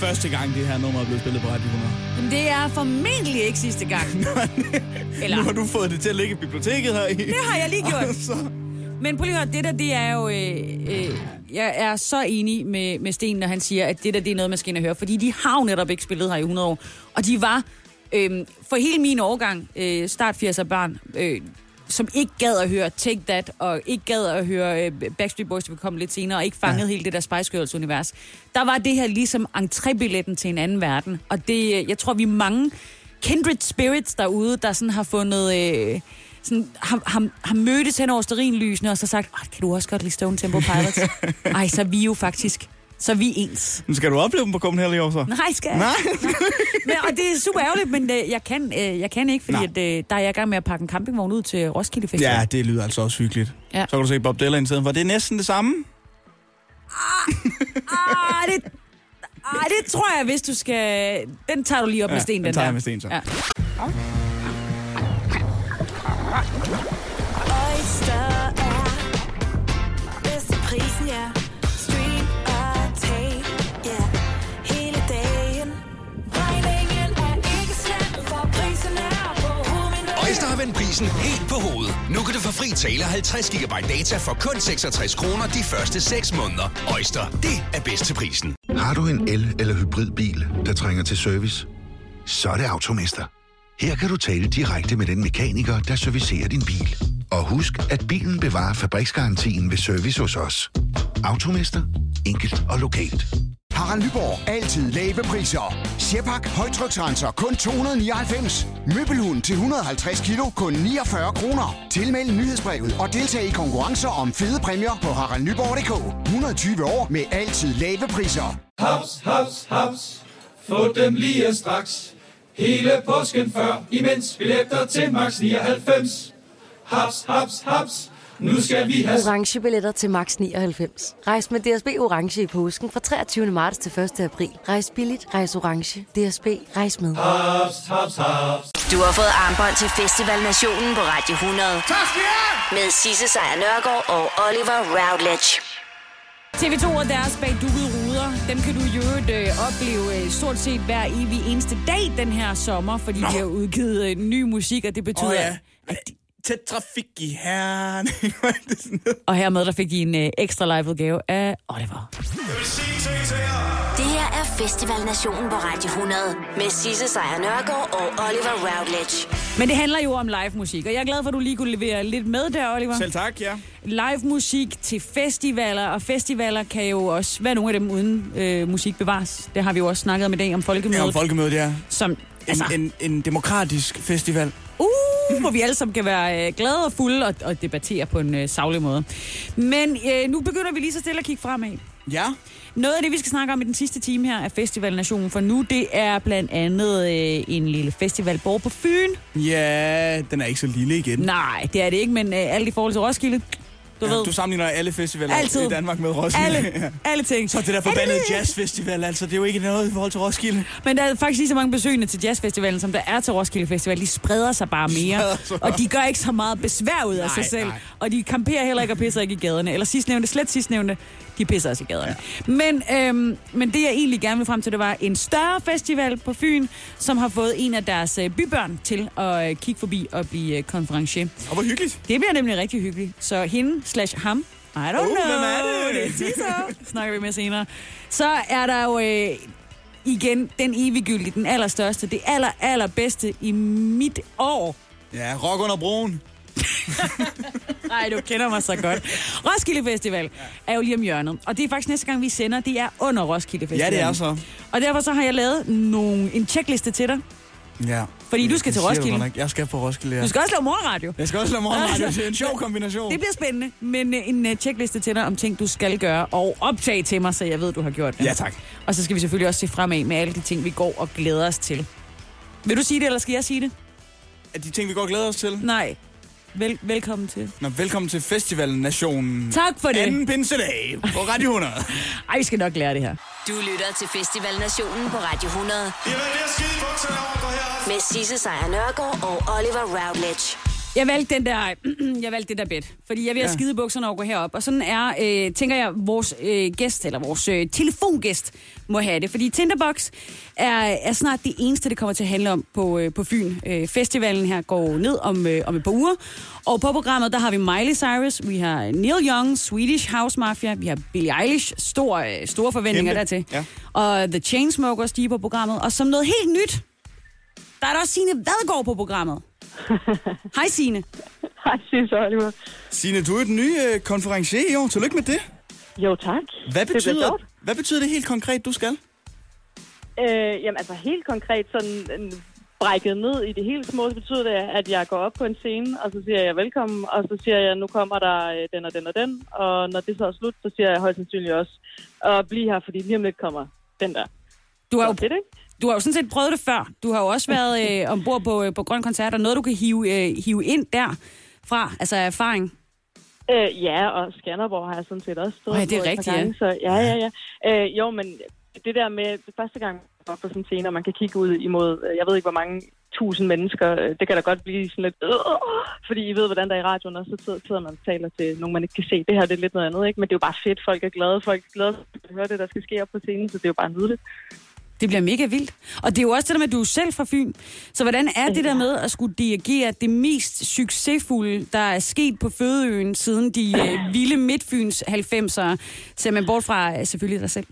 første gang, det her nummer er blevet spillet på Radio 100. Men det er formentlig ikke sidste gang. Eller... Nu har du fået det til at ligge i biblioteket her i. Det har jeg lige gjort. Men prøv lige at høre, det der, det er jo... Øh, øh, jeg er så enig med, med Sten, når han siger, at det der, det er noget, man skal ind og høre. Fordi de har jo netop ikke spillet her i 100 år. Og de var, øh, for hele min årgang, øh, start 80'er barn, øh, som ikke gad at høre Take That, og ikke gad at høre øh, Backstreet Boys, der vil komme lidt senere, og ikke fangede ja. hele det der Spice Girls-univers. Der var det her ligesom entrébilletten til en anden verden. Og det, øh, jeg tror, vi er mange kindred spirits derude, der sådan har fundet... Øh, sådan, har, har, har mødtes hen over sterinlysene, og så sagt, "Åh, kan du også godt lide Stone Temple Pilots? Ej, så er vi jo faktisk, så er vi ens. Men skal du opleve dem på Copenhagen i år så? Nej, skal jeg Nej. ikke. Nej. Men, og det er super ærgerligt, men øh, jeg, kan, øh, jeg kan ikke, fordi at, øh, der er jeg i gang med at pakke en campingvogn ud til Roskilde Festival. Ja, det lyder altså også hyggeligt. Ja. Ja. Så kan du se Bob Dylan i stedet for. Det er næsten det samme. Ah, det, ah, det tror jeg, hvis du skal... Den tager du lige op Ja, med sten, den, den tager der. jeg med sten, så. Ja. Oyster er bedst til prisen, ja. Stream og tag, ja. Hele dagen. Regningen er ikke slem, for prisen er på hovedet. Øjster har vendt prisen helt på hovedet. Nu kan du få fri tale 50 GB data for kun 66 kroner de første 6 måneder. Øjster, det er bedst til prisen. Har du en el- eller hybridbil, der trænger til service? Så er det Automester. Her kan du tale direkte med den mekaniker, der servicerer din bil. Og husk, at bilen bevarer fabriksgarantien ved service hos os. Automester. Enkelt og lokalt. Harald Nyborg. Altid lave priser. Sjehpak. Højtryksrenser. Kun 299. Møbelhund til 150 kilo. Kun 49 kroner. Tilmeld nyhedsbrevet og deltag i konkurrencer om fede præmier på haraldnyborg.dk. 120 år med altid lave priser. Haps, haps, haps. Få dem lige straks. Hele påsken før, imens billetter til max 99. Haps, haps, haps. Nu skal vi have... orange billetter til max 99. Rejs med DSB orange i påsken fra 23. marts til 1. april. Rejs billigt, rejs orange. DSB rejs med. Haps, haps, haps. Du har fået armbånd til Festival Nationen på Radio 100. Tak skal I have! Med Sisse Sejr Nørgaard og Oliver Routledge. TV2 og deres bag dukkede ruder, dem kan du i øvrigt øh, opleve øh, stort set hver evig eneste dag den her sommer, fordi Nå. de har udgivet øh, ny musik, og det betyder... Åh, Oh, ja. ja. Tæt trafik i herren. Og hermed der fik de en øh, ekstra live udgave af Oliver. Det her er Festival Nationen på Radio 100. Med Sisse Sejr Nørgaard og Oliver Routledge. Men det handler jo om live musik, og jeg er glad for, at du lige kunne levere lidt med der, Oliver. Selv tak, ja. Live musik til festivaler, og festivaler kan jo også være nogle af dem uden øh, musik bevares. Det har vi jo også snakket om i dag om folkemødet. Ja, om folkemødet, ja. Som, altså... en, en, en demokratisk festival. Uh, hvor vi alle sammen kan være øh, glade og fulde og, og debattere på en øh, savlig måde. Men øh, nu begynder vi lige så stille at kigge fremad. Ja. Noget af det, vi skal snakke om i den sidste time her af Festival Nationen for nu, det er blandt andet øh, en lille festival borg på Fyn. Ja, den er ikke så lille igen. Nej, det er det ikke, men øh, alt i forhold til Roskilde. Du ja, ved. du sammenligner alle festivaler Altid. i Danmark med Roskilde. Alle- Ja. alle ting. Så er det der Er det forbandede det? jazzfestival, altså det er jo ikke noget i forhold til Roskilde. Men der er faktisk lige så mange besøgende til jazzfestivalen, som der er til Roskilde Festival. De spreder sig bare mere, Spreder sig bare. og de gør ikke så meget besvær ud af Nej, sig selv. nej. Og de kamperer heller ikke og pisser ikke i gaderne. Eller sidstnævnte, slet sidstnævnte, de pisser også i gaderne. Ja. Men, øhm, men det, jeg egentlig gerne vil frem til, det var en større festival på Fyn, som har fået en af deres øh, bybørn til at øh, kigge forbi og blive øh, konferencier. Og hvor hyggeligt. Det bliver nemlig rigtig hyggeligt. Så hende slash ham, I don't Oh, know. hvem er det? Det er Tissot. Snakker vi med senere. Så er der jo øh, igen den eviggyldige, den allerstørste, det aller, allerbedste i mit år. Ja, rock under broen. Nej, du kender mig så godt. Roskilde Festival er jo lige om hjørnet. Og det er faktisk næste gang, vi sender, det er under Roskilde Festival. Ja, det er så. Og derfor så har jeg lavet nogle, en checkliste til dig. Ja. Fordi du skal til Det siger du Roskilde. godt nok. Jeg skal på Roskilde, ja. Du skal også lave morgenradio. Jeg skal også lave morgenradio. Altså, Det er en sjov kombination. Det bliver spændende, men øh, en øh, checkliste til dig om ting, du skal gøre, og optag til mig, så jeg ved, du har gjort det. Ja, tak. Og så skal vi selvfølgelig også se fremad med alle de ting, vi går og glæder os til. Vil du sige det, eller skal jeg sige det? Er de ting, vi godt glæder os til? Nej. Vel- velkommen til. Nå, velkommen til Festivalen Nationen. Tak for det. Anden pinsedag på Radio 100. Ej, vi skal nok lære det her. Du lytter til Festival Nationen på Radio 100. Jamen, det er skide bukserne over, her. Med Sisse Sejr Nørgaard og Oliver Routledge. Jeg valgte den der, jeg valgte det der bed, fordi jeg vil have Ja. ja. skide bukserne og gå herop. Og sådan er, øh, tænker jeg, vores øh, gæst, eller vores øh, telefongæst, må have det. Fordi Tinderbox er, er snart det eneste, det kommer til at handle om på, øh, på Fyn. Øh, festivalen her går ned om, øh, om et par uger. Og på programmet, der har vi Miley Cyrus, vi har Neil Young, Swedish House Mafia, vi har Billie Eilish, stor, øh, store forventninger Kæmpe. dertil. Ja. Og The Chainsmokers, de er på programmet. Og som noget helt nyt, der er der også Signe Vadgaard på programmet. Hej Signe. Hej Signe Oliver. Signe, du er den nye øh, konferencier i år. Tillykke med det. Jo, tak. Hvad Det bliver betyder, sjovt. hvad betyder det helt konkret, du skal? Øh, jamen altså helt konkret, sådan øh, brækket ned i det helt små, så betyder det, at jeg går op på en scene, og så siger jeg velkommen, og så siger jeg, nu kommer der øh, den og den og den, og når det så er slut, så siger jeg højst sandsynligt også, og bliv her, fordi lige om lidt kommer den der. Du har, jo, det, du har jo sådan set prøvet det før. Du har jo også været øh, ombord på, øh, på Grøn Koncert, og noget du kan hive, øh, hive ind der fra, altså af erfaring. Øh, ja, og Skanderborg har jeg sådan set også stået Åh, ja, det er på et par rigtigt, ja. gange, så ja, ja, ja. Øh, jo, men det der med det første gang jeg var på sådan en scene, og man kan kigge ud imod, øh, jeg ved ikke, hvor mange tusind mennesker, øh, det kan da godt blive sådan lidt, øh, fordi I ved, hvordan der er i radioen, og så sidder- sidder man og taler til nogen, man ikke kan se. Det her det er lidt noget andet, ikke? Men det er jo bare fedt, folk er glade, folk er glade for at høre det, der skal ske op på scenen, så det er jo bare nydeligt. Det bliver mega vildt. Og det er jo også det der med, at du er selv fra Fyn. Så hvordan er det der med at skulle dirigere det mest succesfulde, der er sket på Fødeøen siden de øh, vilde Midtfyns 90'ere? Ser man bort fra øh, selvfølgelig dig selv.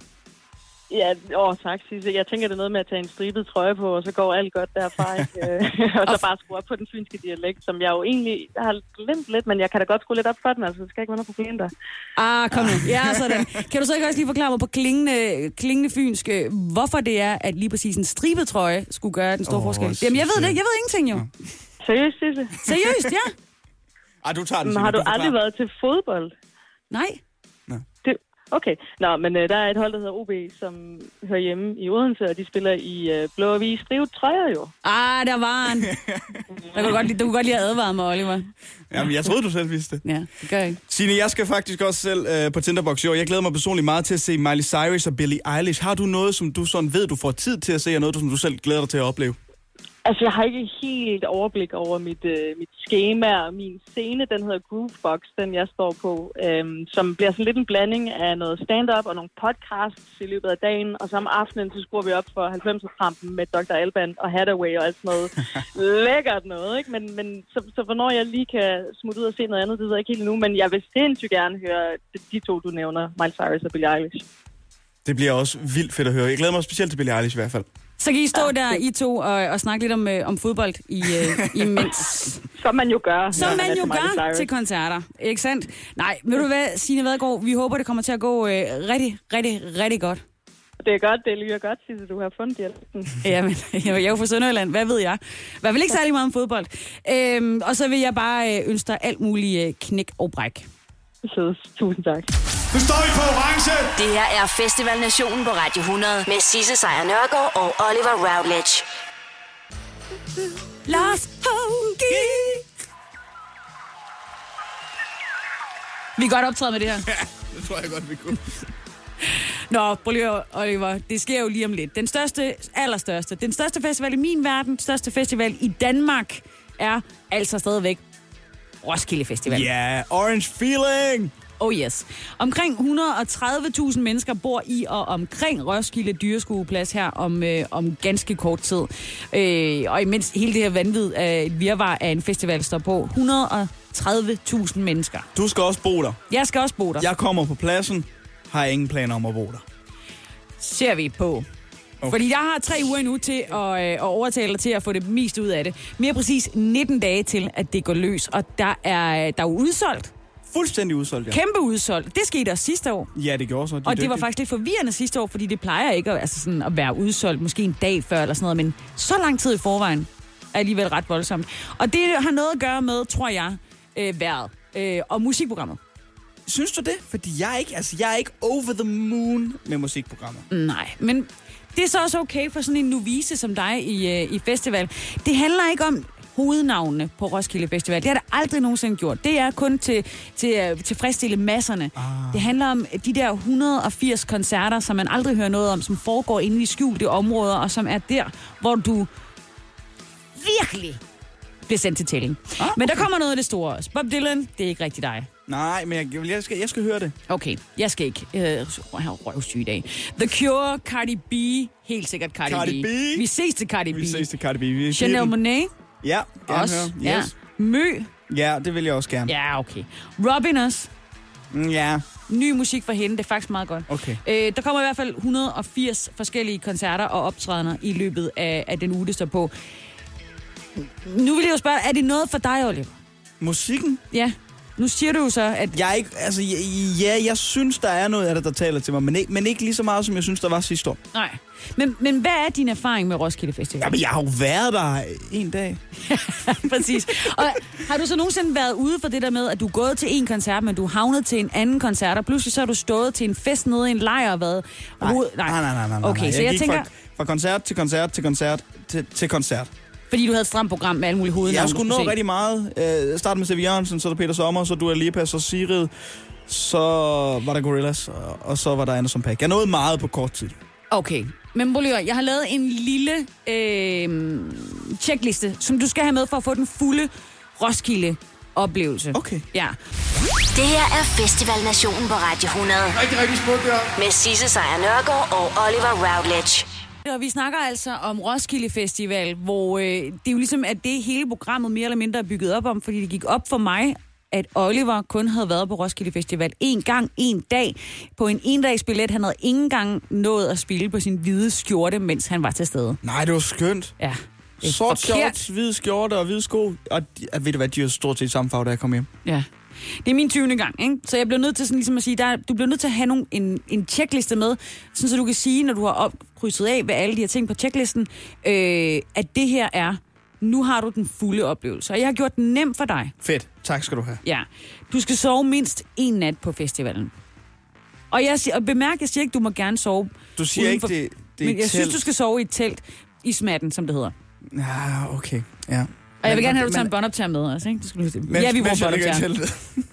Ja, åh, tak, Sisse. Jeg tænker, det er noget med at tage en stribet trøje på, og så går alt godt derfra, ikke? Øh, og så bare skrue op på den fynske dialekt, som jeg jo egentlig har glemt lidt, men jeg kan da godt skrue lidt op for den, altså det skal ikke være noget problem der. Ah, kom nu. Ja, sådan. Kan du så ikke også lige forklare mig på klingende, klingende fynsk, øh, hvorfor det er, at lige præcis en stribet trøje skulle gøre den store oh, forskel? Jamen, jeg ved det. ikke. Jeg ved ingenting jo. Seriøst, Sisse? Seriøst, ja. Ej, du tager den, Men Signe. har du forklarer. aldrig været til fodbold? Nej. Det, okay, Nå, men øh, der er et hold, der hedder OB, som hører hjemme i Odense, og de spiller i øh, blå og hvide strivet trøjer jo. Ah, der var en. Jeg kunne godt lide, du kunne godt lige have advaret mig, Oliver. Jamen, jeg troede, du selv vidste det. Ja, det gør jeg ikke. Signe, jeg skal faktisk også selv øh, på Tinderbox i år. Jeg glæder mig personligt meget til at se Miley Cyrus og Billie Eilish. Har du noget, som du sådan ved, du får tid til at se, og noget, du- som du selv glæder dig til at opleve? Altså, jeg har ikke helt overblik over mit, øh, mit schema og min scene. Den hedder Groovebox, den jeg står på, øhm, som bliver sådan lidt en blanding af noget stand-up og nogle podcasts i løbet af dagen. Og så om aftenen, så skruer vi op for 90'er-trampen med Dr. Alban og Hathaway og alt sådan noget. Lækkert noget, ikke? Men, men så, så hvornår jeg lige kan smutte ud og se noget andet, det ved jeg ikke helt endnu. Men jeg vil sindssygt gerne høre de to, du nævner, Miles Cyrus og Billie Eilish. Det bliver også vildt fedt at høre. Jeg glæder mig specielt til Billie Eilish i hvert fald. Så kan I Ah, stå der, I to, og, og snakke lidt om, øh, om fodbold i, øh, imens. Som man jo gør. Som når man er jo til altså Miley gør Cyrus. til koncerter, ikke sandt? Nej, ved du hvad, Signe Vadgaard, vi håber, det kommer til at gå øh, rigtig, rigtig, rigtig godt. Det er godt, det lyder godt, Sisse, du har fundet dialekten. Jamen, jeg er jo fra Sønderjylland, hvad ved jeg? I hvert fald ikke særlig meget om fodbold. Øhm, og så vil jeg bare øh, ønske dig alt muligt øh, knæk og bræk. Tusind tak. Nu står vi på orange. Det her er Festival Nationen på Radio 100 med Sisse Sejr Nørgaard og Oliver Routledge. Lars Hongi! Vi er godt optræde med det her. Det tror jeg godt, vi kunne. Nå, prøv lige at- Oliver, det sker jo lige om lidt. Den største, allerstørste, den største festival i min verden, største festival i Danmark, er altså stadigvæk Roskilde Festival. Ja, orange feeling! Oh yes. Omkring 130.000 mennesker bor i og omkring Roskilde Dyreskueplads her om, øh, om ganske kort tid. Øh, og imens hele det her vanvid af et virvar af en festival står på, 130.000 mennesker. Du skal også bo der. Jeg skal også bo der. Jeg kommer på pladsen, har ingen planer om at bo der. ser vi på. Okay. Fordi jeg har tre uger endnu til at, øh, at overtale dig til at få det mest ud af det. Mere præcis 19 dage til, at det går løs. Og der er, øh, der er jo udsolgt. Fuldstændig udsolgt, ja. Kæmpe udsolgt. Det skete også sidste år. Ja, det gjorde så. De er Og det var dygtige. faktisk lidt forvirrende sidste år, fordi det plejer ikke at, altså sådan at være udsolgt, måske en dag før eller sådan noget, men så lang tid i forvejen er alligevel ret voldsomt. Og det har noget at gøre med, tror jeg, øh, vejret øh, og musikprogrammet. Synes du det? Fordi jeg er ikke, altså, jeg er ikke over the moon med musikprogrammer. Nej, men det er så også okay for sådan en novice som dig i, øh, i festival. Det handler ikke om hovednavnene på Roskilde Festival. Det har det aldrig nogensinde gjort. Det er kun til, til at tilfredsstille masserne. Ah. Det handler om de der 180 koncerter, som man aldrig hører noget om, som foregår inde i skjulte områder, og som er der, hvor du virkelig bliver sendt til tælling. Ah, Men der kommer noget af det store også. Bob Dylan, det er ikke rigtig dig. Nej, men jeg, jeg, skal, jeg skal høre det. Okay, jeg skal ikke. Øh, jeg har røvsyg i dag. The Cure, Cardi B, helt sikkert Cardi, Cardi B. Vi ses til Cardi B. Vi ses til Cardi B. Vi giver Chanel den- Monet, Ja, gerne også. høre. Ja. Yes. Mø, Ja. ja, det vil jeg også gerne. Ja, okay. Robin også. Mm, Ja, Ny musik fra hende, det er faktisk meget godt. okay. Øh, der kommer i hvert fald 180 forskellige koncerter og optrædener i løbet af, af den uge, det står på. Nu vil jeg jo spørge, er det noget for dig, Oliver? Musikken? Ja. Nu siger du jo så, at... Jeg er ikke, altså, ja, ja, jeg synes, der er noget af det, der taler til mig, men ikke, men ikke lige så meget, som jeg synes, der var sidste år. Nej. Men, men hvad er din erfaring med Roskilde Festival? Jamen, jeg har jo været der en dag. Præcis. Og har du så nogensinde været ude for det der med, at du er gået til en koncert, men du er havnet til en anden koncert, og pludselig så har du stået til en fest nede i en lejr og været... Nej, Rod- nej, nej, nej, nej, nej, nej. Okay, så jeg gik tænker- Fra, fra koncert til koncert til koncert til, til koncert. Fordi du havde et stramt program med alle mulige hovednavne. Jeg du skulle nå se. rigtig meget. Øh, start med Stevie Jørgensen, så er der Peter Sommer, så Dua Lipa, så Sigrid, så var der Gorillaz, og, og så var der Anderson Paak. Jeg nåede meget på kort tid. Okay, men prøv lige at høre, jeg har lavet en lille øh, checkliste, som du skal have med for at få den fulde Roskilde-oplevelse. Okay. Ja. Det her er Festival Nationen på Radio 100. Rigtig, rigtig smukt, ja. Med Sisse Sejr Nørgaard og Oliver Routledge. Og vi snakker altså om Roskilde Festival, hvor øh, det er jo ligesom, at det hele programmet mere eller mindre er bygget op om, fordi det gik op for mig, at Oliver kun havde været på Roskilde Festival en gang, en dag, på en endagsbillet. Han havde ikke engang nået at spille på sin hvide skjorte, mens han var til stede. Nej, det var skønt. Ja. det er Sort forkert. shorts, hvide skjorte og hvide sko. Og de- ved du hvad, de er stort set samme farve, da jeg kom hjem. Ja. Det er min 20. gang, ikke? Så jeg bliver nødt til sådan ligesom at sige, der, du bliver nødt til at have nogle, en, en checkliste med, sådan så du kan sige, når du har opkrydset af, hvad alle de her ting på checklisten, øh, at det her er, nu har du den fulde oplevelse. Og jeg har gjort den nem for dig. Fedt. Tak skal du have. Ja. Du skal sove mindst en nat på festivalen. Og, jeg, siger- og bemærk, jeg siger ikke, du må gerne sove. Du siger udenfor- ikke, det- det er Men et jeg synes, telt. du skal sove i et telt i smatten, som det hedder. Ah, okay. Ja. Og jeg vil Men- gerne have, at du men- tager en båndoptager med også, ikke? Du skal lige... Mens- ja, vi bruger mens jeg ligger i båndoptager.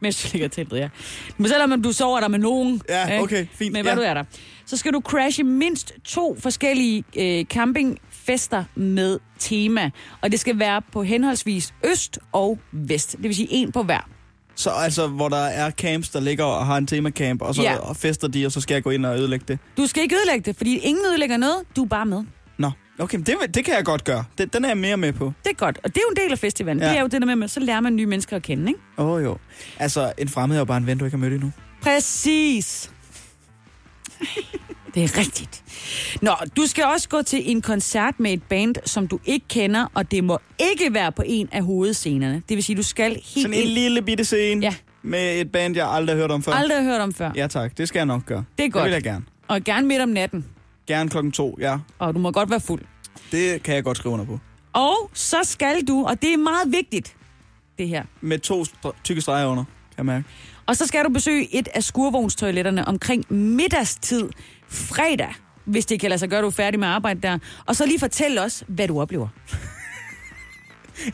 mens du ligger i teltet, ja. Men selvom om du sover der med nogen. Ja, ikke? okay, fint, Men hvad ja. du er der. Så skal du crashe mindst to forskellige øh, campingfester med tema. Og det skal være på henholdsvis øst og vest. Det vil sige en på hver. Så altså, hvor der er camps, der ligger og har en temacamp, og så Ja. ja. og fester de, og så skal jeg gå ind og ødelægge det. Du skal ikke ødelægge det, fordi ingen ødelægger noget. Du er bare med. Nå, okay, men det, vil- det kan jeg godt gøre. Den, den er jeg mere med på. Det er godt, og det er jo en del af festivalen. Ja. Ja. Det er jo det der med, at så lærer man nye mennesker at kende, ikke? Åh oh, jo. Altså, en fremmed er jo bare en ven, du ikke har mødt endnu. Præcis. Det er rigtigt. Nå, du skal også gå til en koncert med et band, som du ikke kender, og det må ikke være på en af hovedscenerne. Det vil sige, du skal helt Sådan en ind- lille bitte scene Ja. med et band, jeg aldrig har hørt om før. Aldrig har hørt om før. Ja tak, det skal jeg nok gøre. Det er godt. Det vil jeg gerne. Og gerne midt om natten, Gerne klokken to, ja. og du må godt være fuld. Det kan jeg godt skrive under på. Og så skal du, og det er meget vigtigt, det her. Med to st- tykke streger under, kan jeg mærke. Og så skal du besøge et af skurvognstoiletterne omkring middagstid fredag, hvis det kan lade sig gøre, du er færdig med arbejde der. Og så lige fortæl os, hvad du oplever.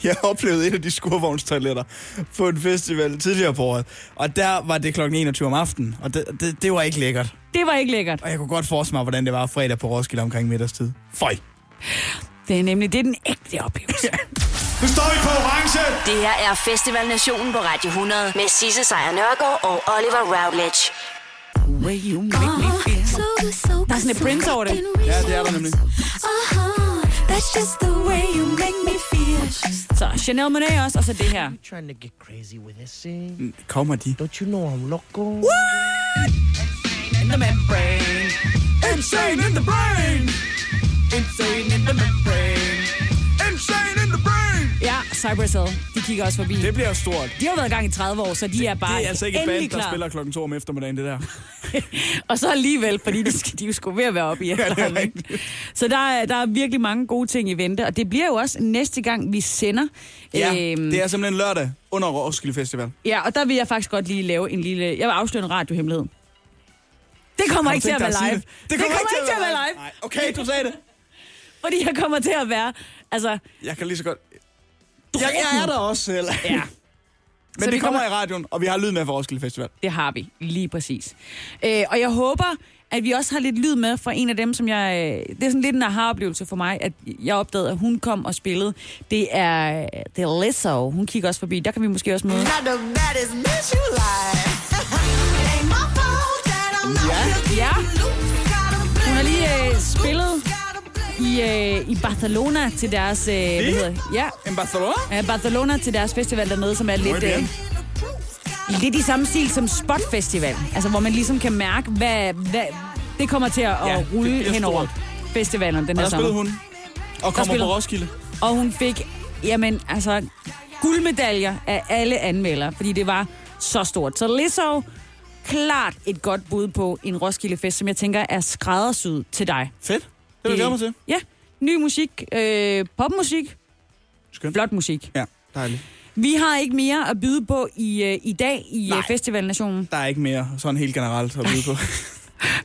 Jeg oplevede et af de skurvognstoiletter på en festival tidligere på året. Og der var det klokken 21 om aftenen, og det, det, det var ikke lækkert. Det var ikke lækkert. Og jeg kunne godt forestille mig, hvordan det var fredag på Roskilde omkring middagstid. Føj. Det er nemlig det er den ægte oplevelse. Nu står vi på orange. Det her er Festival Nationen på Radio 100. Med Sisse Sejr Nørgaard og Oliver Routledge. Der er sådan et Prince over det. Ja, det er der nemlig. That's just the way you make me feel. Så Chanel Monet også, og så det her. Kommer de? Don't you know I'm loco? In the membrane. Insane in the brain. Insane in the membrane. Insane in the brain. Ja, Cypress Hill. De kigger også forbi. Det bliver stort. De har været i gang i 30 år, så de er bare det er altså ikke et endelig band, der klar. spiller klokken 2 om eftermiddagen, det der. Og så alligevel, fordi de, skal, de er jo sgu ved at være oppe i efterhånden. ikke? så der, er- der er virkelig mange gode ting i vente, og det bliver jo også næste gang, vi sender. Øhm, Ja, det er simpelthen lørdag under Roskilde Festival. ja, og der vil jeg faktisk godt lige lave en lille... Jeg vil afsløre en radiohemmelighed. Det kommer Har du ikke til tænkt at dig være at sige live. det? Det kommer ikke til at være live. live. Nej, okay, du sagde det. Fordi jeg kommer til at være... Altså, Jeg kan lige så godt... Jeg, jeg er der også selv. Ja. Men Så det vi kommer kommer- i radioen, og vi har lyd med for Roskilde Festival. Det har vi, lige præcis. Øh, og jeg håber, at vi også har lidt lyd med fra en af dem, som jeg... øh, Det er sådan lidt en aha-oplevelse for mig, at jeg opdagede, at hun kom og spillede. Det er, øh, det er Lizzo. Hun kigger også forbi. Der kan vi måske også møde. Not the baddest bitch you like. Ain't my fault that I'm not looking Ja. loose. Got a Hun har lige øh, spillet i, øh, i Barcelona til deres... Øh, hvad hedder det? Ja. En Barcelona? Ja, Barcelona til deres festival dernede, som er Muy lidt... Øh, bien. lidt i samme stil som Spot Festival. Altså, hvor man ligesom kan mærke, hvad, hvad det kommer til at, Ja, at det rulle bliver henover festivalen den Og her der sommer. spillede hun. Der Og kommer spillede- på Roskilde. Og hun fik, jamen altså, guldmedaljer af alle anmeldere, fordi det var så stort. Så Lizzo, klart et godt bud på en Roskilde-fest, som jeg tænker er skræddersyet til dig. Fedt. Det vil jeg glæde mig til. Ja, ny musik, øh, popmusik, Skønt. flot musik. Ja, dejligt. Vi har ikke mere at byde på i, øh, i dag i Nej. Festivalnationen. Der er ikke mere sådan helt generelt at byde på.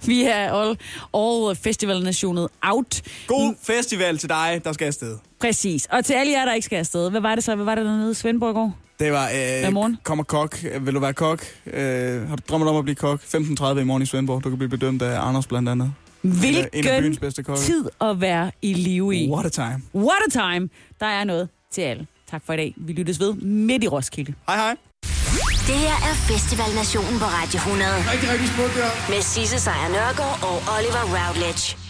Vi er all, all Festivalnationet out. God festival til dig, der skal afsted. Præcis. Og til alle jer, der ikke skal afsted. Hvad var det så? Hvad var det dernede i Svendborg i går? Det var, Hvad øh, morgen? kommer kok. Øh, Vil du være kok? Øh, har du drømmet om at blive kok? 15.30 i morgen i Svendborg. Du kan blive bedømt af Anders blandt andet. En af- en af byens bedste Hvilken kokke. tid at være i live i. What a time. What a time. Der er noget til alle. Tak for i dag. Vi lyttes ved midt i Roskilde. Hej hej. Det her er Festival Nationen på Radio 100. Rigtig, rigtig smukt, ja. Med Sisse Sejr Nørgaard og Oliver Routledge.